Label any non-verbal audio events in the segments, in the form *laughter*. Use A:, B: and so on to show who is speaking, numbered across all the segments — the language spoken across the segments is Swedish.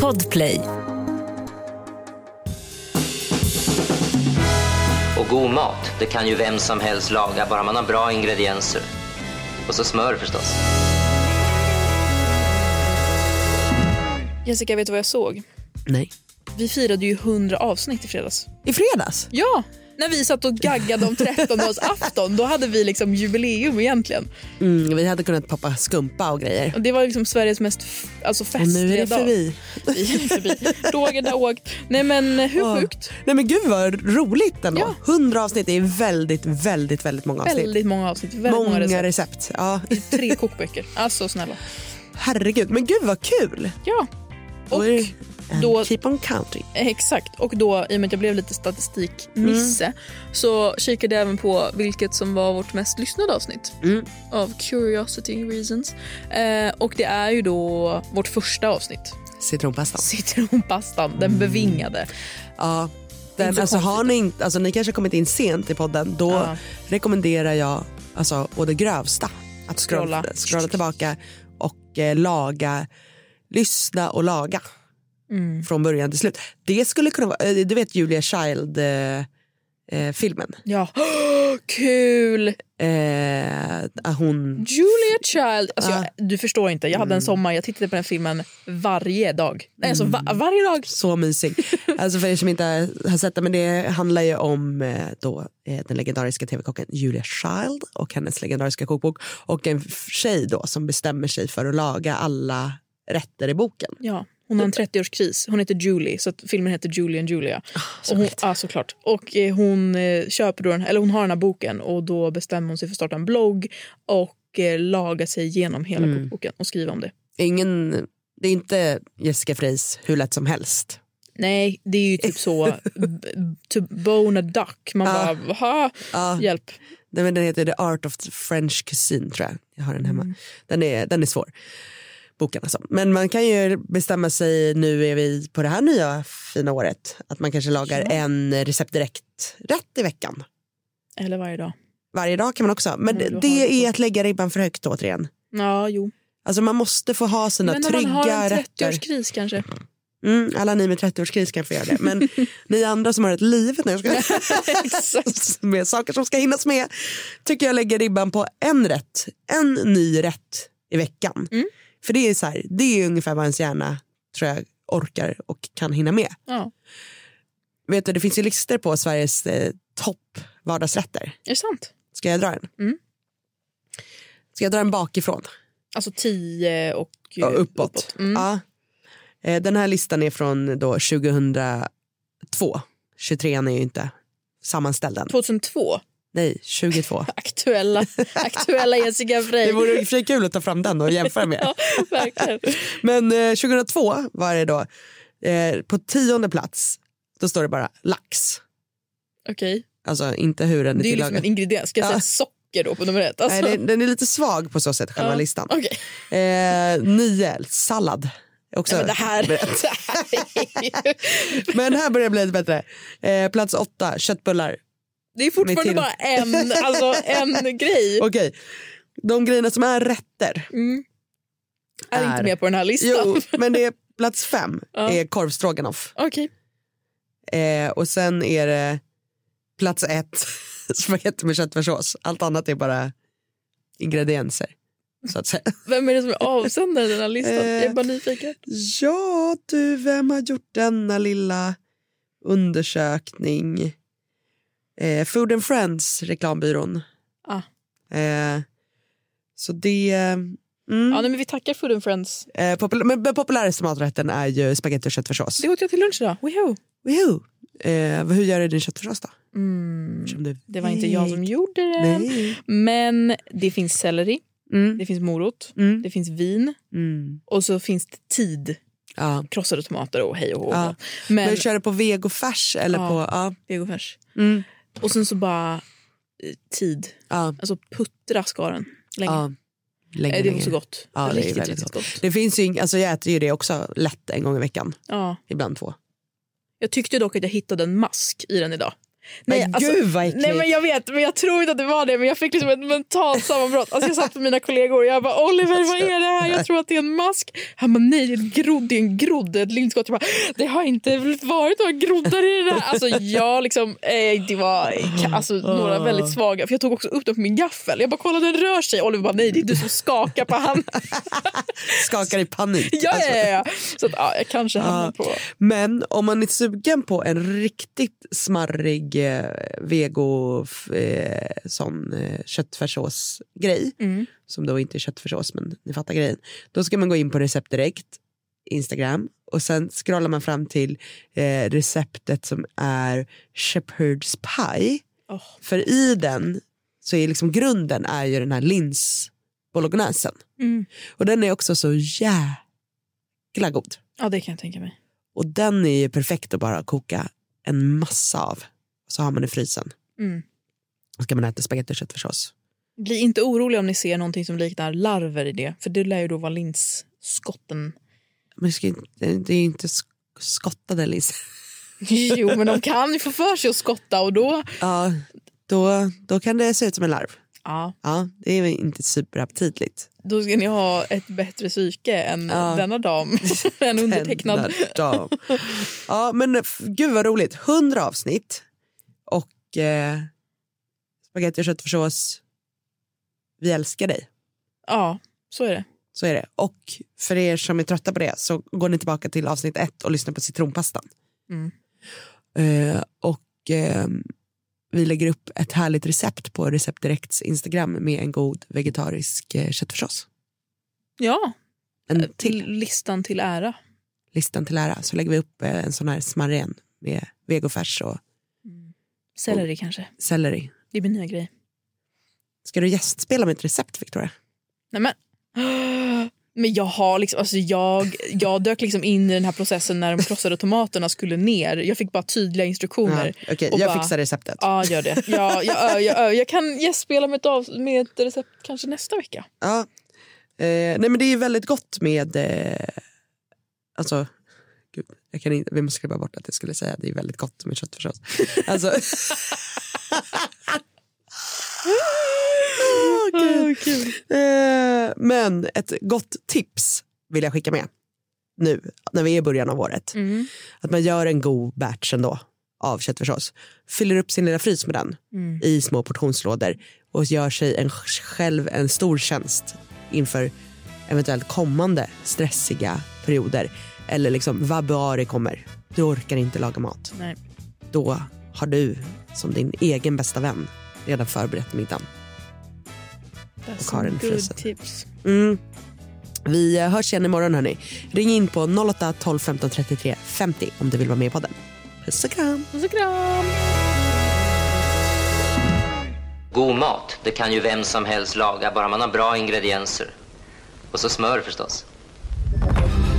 A: Podplay.
B: Och god mat, det kan ju vem som helst laga, bara man har bra ingredienser. Och så smör förstås.
C: Jessica, vet du vad jag såg?
D: Nej.
C: Vi firade ju 100 avsnitt i fredags.
D: I fredags?
C: Ja! När vi satt och gaggade om 13-årsafton, då hade vi liksom jubileum egentligen.
D: Mm, vi hade kunnat pappa skumpa och grejer.
C: Och det var liksom Sveriges mest f- alltså
D: Och nu är det
C: festliga dag. *laughs*
D: förbi.
C: Vi är förbi. Roger har åkt. Nej men eh, hur
D: Ja.
C: sjukt?
D: Nej men gud vad roligt ändå.
C: Ja.
D: 100 avsnitt är väldigt, väldigt, väldigt många avsnitt.
C: Väldigt många avsnitt, väldigt många,
D: många recept.
C: recept.
D: Ja.
C: Tre kokböcker. Alltså snälla.
D: Herregud, men gud vad kul.
C: Ja.
D: Då
C: Och
D: är det- And
C: då-
D: Keep on counting.
C: Exakt. Och då, i och med att jag blev lite statistiknisse,
D: Mm.
C: så kikade jag även på vilket som var vårt mest lyssnade avsnitt.
D: Mm.
C: Av curiosity reasons. Eh, och det är ju då vårt första avsnitt.
D: Citronpastan.
C: Citronpastan, den bevingade.
D: Ja. Den,
C: Inte
D: alltså,
C: konstigt.
D: har ni, inte, alltså, ni kanske har kommit in sent i podden. Då
C: Ja.
D: rekommenderar jag alltså, å det grövsta att scrolla,
C: Scrolla.
D: scrolla tillbaka och eh, laga. Lyssna och laga
C: Mm.
D: från början till slut. Det skulle kunna vara, eh, du vet Julia Child-filmen. Eh, filmen.
C: Ja. Kul!
D: eh, hon,
C: Julia Child. Alltså,
D: Ja.
C: jag, du förstår inte. Jag hade en sommar. Jag tittade på den filmen varje dag. Nej, alltså, va- varje dag.
D: så mysig. alltså, för er som inte har sett det, men det handlar ju om eh, då, eh, den legendariska tv-kocken Julia Child och hennes legendariska kokbok och en f- tjej då som bestämmer sig för att laga alla rätter i boken.
C: Ja, hon har en 30-årskris. Hon heter Julie, så att filmen heter Julie and Julia. och hon, ja, såklart. Och eh, hon, eh, köper då den, eller hon har den här boken och då bestämmer hon sig för att starta en blogg och eh, laga sig igenom hela kokboken och skriva om det.
D: Ingen, det är inte Jessica Freys hur lätt som helst.
C: Nej, det är ju typ så b- to bone a duck. Man
D: Ja.
C: bara, ha,
D: Ja.
C: hjälp.
D: Nej, men den heter The Art of French Cuisine tror jag. Jag har den hemma.
C: Mm.
D: Den, är, den är svår. Boken alltså. Men man kan ju bestämma sig, nu är vi på det här nya fina året, att man kanske lagar en recept direkt rätt i veckan.
C: Eller varje dag.
D: Varje dag kan man också. Men
C: Om
D: det,
C: du Mm, har
D: det
C: det.
D: är att lägga ribban för högt återigen.
C: Ja, jo.
D: Alltså man måste få ha sina
C: Men om man har
D: trygga
C: en
D: rätter.
C: 30-årskris kanske.
D: Mm, alla ni med 30-årskris kan få göra det.
C: *laughs*
D: Men ni andra som har ett liv när jag ska... *laughs* med saker som ska hinnas med tycker jag lägger ribban på en rätt. En ny rätt i veckan.
C: Mm.
D: För det är, så här, det är ungefär vad ens hjärna tror jag, orkar och kan hinna med.
C: Ja.
D: Vet du, det finns ju listor på Sveriges eh, topp vardagsrätter.
C: Är det sant?
D: Ska jag dra en?
C: Mm.
D: Ska jag dra en bakifrån?
C: Alltså 10 och eh,
D: Ja, uppåt. Ah.
C: Mm.
D: Ja. Eh, Den här listan är från då 2002. 23 är ju inte sammanställd än.
C: 2002.
D: Nej,
C: *laughs*
D: 22. *laughs*
C: Aktuella, aktuella Jessica Frey.
D: Det vore i och för sig kul att ta fram den och jämföra med.
C: Verkligen.
D: Men eh, 2002 var det då eh, på tionde plats. Då står det bara lax.
C: Okej.
D: Alltså inte hur den är
C: Det är ju liksom
D: tillagad.
C: en ingrediens. Ska jag
D: Ja.
C: säga socker då på nummer ett? Alltså.
D: Ah. Nej, den, den är lite svag på så sätt, själva
C: Ja.
D: listan.
C: Okej.
D: Eh, nio, sallad. Också
C: Nej, men det här, *laughs* det
D: brett.
C: här är ju...
D: men här börjar det bli lite bättre. Eh, plats åtta, köttbullar.
C: Det är fortfarande
D: till-
C: bara en, alltså,
D: *laughs*
C: en grej.
D: Okej, de grejerna som är rätter.
C: Mm. Är
D: Är-
C: inte med på den här
D: Jo,
C: listan.
D: men det är plats fem
C: Ja.
D: är korvstroganoff.
C: *laughs* Okej.
D: Eh, och sen är det plats ett *laughs* spagetti med köttfärssås. Allt annat är bara ingredienser. Så att säga.
C: Vem är det som är avsändare i den här listan?
D: Eh.
C: Jag är bara nyfiken.
D: *laughs* Ja du, vem har gjort denna lilla undersökning? Eh, Food and Friends, reklambyrån.
C: Ah.
D: Eh, så det... Mm.
C: Ja, nej, men vi tackar Food and Friends.
D: Eh, popul- men den populäraste maträtten är ju spagetti och köttfärssås.
C: Det åt jag till lunch idag. Woho!
D: Woho! Eh, hur gör du din köttfärssås då?
C: Mm.
D: Som du
C: Det var inte jag som
D: vet.
C: gjorde den.
D: Nej.
C: Men det finns selleri,
D: Mm.
C: det finns morot,
D: Mm.
C: det finns vin
D: Mm.
C: och så finns det tid.
D: Ja.
C: krossade tomater och hej och hå.
D: Ja.
C: Men,
D: Men du kör det på vegofärs eller
C: Ja.
D: på... Ja.
C: vegofärs.
D: Mm.
C: Och sen så bara eh, tid.
D: Ja.
C: Alltså puttra ska den länge.
D: Ja. Länge,
C: Eh, det är
D: länge.
C: också gott.
D: Ja, det är
C: riktigt,
D: väldigt
C: riktigt gott.
D: Det finns ju, ing- alltså jag äter ju det också lätt en gång i veckan.
C: Ja.
D: Ibland två.
C: Jag tyckte dock att jag hittade en mask i den idag.
D: Nej,
C: alltså-
D: gud vad äckligt.
C: Nej men jag vet, men jag tror inte att det var det men jag fick liksom ett mentalt sammanbrott. Alltså jag satt med mina kollegor och jag bara Oliver vad är det här? Jag tror att det är en mask. Han bara nej det är en grodd, det är en grodd, det är ett lindskott. Jag bara det har inte varit några groddar i det där. Alltså jag liksom, eh, det var ka- alltså, några
D: Ah.
C: väldigt svaga. För jag tog också upp dem på min gaffel. Jag bara kolla den rör sig. Oliver bara nej det är du som skakar på handen. *laughs*
D: Skakar i panik.
C: Ja,
D: Alltså. Ah.
C: ja, ja, ja. Så att, ja, jag kanske hamnade på...
D: Men om man är sugen på en riktigt smarrig eh, vego f- eh, sån eh, köttfärssåsgrej,
C: Mm.
D: som då inte är köttfärssås men ni fattar grejen, då ska man gå in på recept direkt, Instagram och sen scrollar man fram till eh, receptet som är shepherd's pie.
C: Åh.
D: För i den så är liksom grunden är ju den här lins bolognesen
C: Mm.
D: och den är också så jäkla god.
C: Ja, det kan jag tänka mig.
D: Och den är ju perfekt att bara koka en massa av. Så har man i frysen.
C: Mm.
D: Och ska man äta spagetti och köttfärssås.
C: Bli inte oroliga om ni ser någonting som liknar larver i det, för det lär ju då vara linsskotten.
D: Men det, ska ju, det det är ju inte sk- skottade linser.
C: *laughs* Jo, men de kan ju få för sig att skotta och då...
D: Ja, då, då kan det se ut som en larv.
C: Ja,
D: Ja, det är väl inte superaptitligt.
C: då ska ni ha ett bättre psyke än
D: Ja.
C: denna dam. *laughs* en undertecknad.
D: Denna *laughs* dag. Ja, men f- gud vad roligt. 100 avsnitt. Och eh, spagetti och köttfärssås. Vi älskar dig.
C: Ja, så är det.
D: Så är det. Och för er som är trötta på det så går ni tillbaka till avsnitt ett och lyssnar på citronpastan.
C: Mm.
D: Eh, och eh, vi lägger upp ett härligt recept på Recept Directs Instagram med en god vegetarisk eh, köttfärssås.
C: Ja,
D: En
C: till
D: till
C: listan till ära.
D: listan till ära så lägger vi upp eh, en sån här smarrig en med vegofärs och
C: Selleri kanske.
D: selleri.
C: Det blir nya grej.
D: Ska du gästspela med ett recept Victoria?
C: Nej, men... *gasps* Men jag har liksom, alltså jag, jag dök liksom in i den här processen när de krossade tomaterna skulle ner. Jag fick bara tydliga instruktioner.
D: Ja, Okej,
C: Oh, Och
D: jag
C: bara-
D: fixar receptet. Ja.
C: Ja, gör det. Ja, jag, ö, jag, ö. jag kan gästspela med ett, av, med ett recept kanske nästa vecka.
D: Eh, nej men det är väldigt gott med... Eh, alltså, gud, jag kan inte, vi måste skriva bort att jag skulle säga att det är väldigt gott med köttfärssås. Alltså... *laughs* Åh, gud. Eh, men ett gott tips vill jag skicka med nu när vi är i början av året.
C: Mm.
D: Att man gör en god batch ändå av köttfärssås. Fyller upp sin lilla frys med den
C: Mm.
D: i små portionslådor och gör sig en, själv en stor tjänst inför eventuellt kommande stressiga perioder. Eller liksom vabuari kommer. Du orkar inte laga mat.
C: Nej.
D: Då har du som din egen bästa vän redan förberett middagen.
C: That's
D: har den
C: some
D: i
C: good
D: frysen.
C: tips.
D: Mm. Vi eh, hörs igen imorgon hörni. Ring in på 08 12 15 33 50 om du vill vara med i podden. Puss och kram.
C: Puss och kram!
B: God mat, det kan ju vem som helst laga, bara man har bra ingredienser. Och så smör förstås.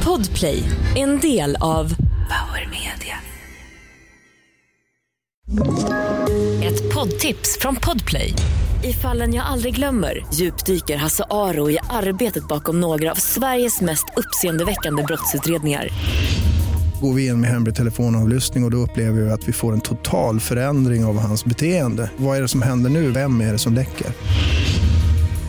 A: Podplay, en del av Power Media. Ett poddtips från Podplay. I fallen jag aldrig glömmer djupdyker Hasse Aro i arbetet bakom några av Sveriges mest uppseendeväckande brottsutredningar.
E: Går vi in med hemlig telefonavlyssning och, och då upplever vi att vi får en total förändring av hans beteende. Vad är det som händer nu? Vem är det som läcker?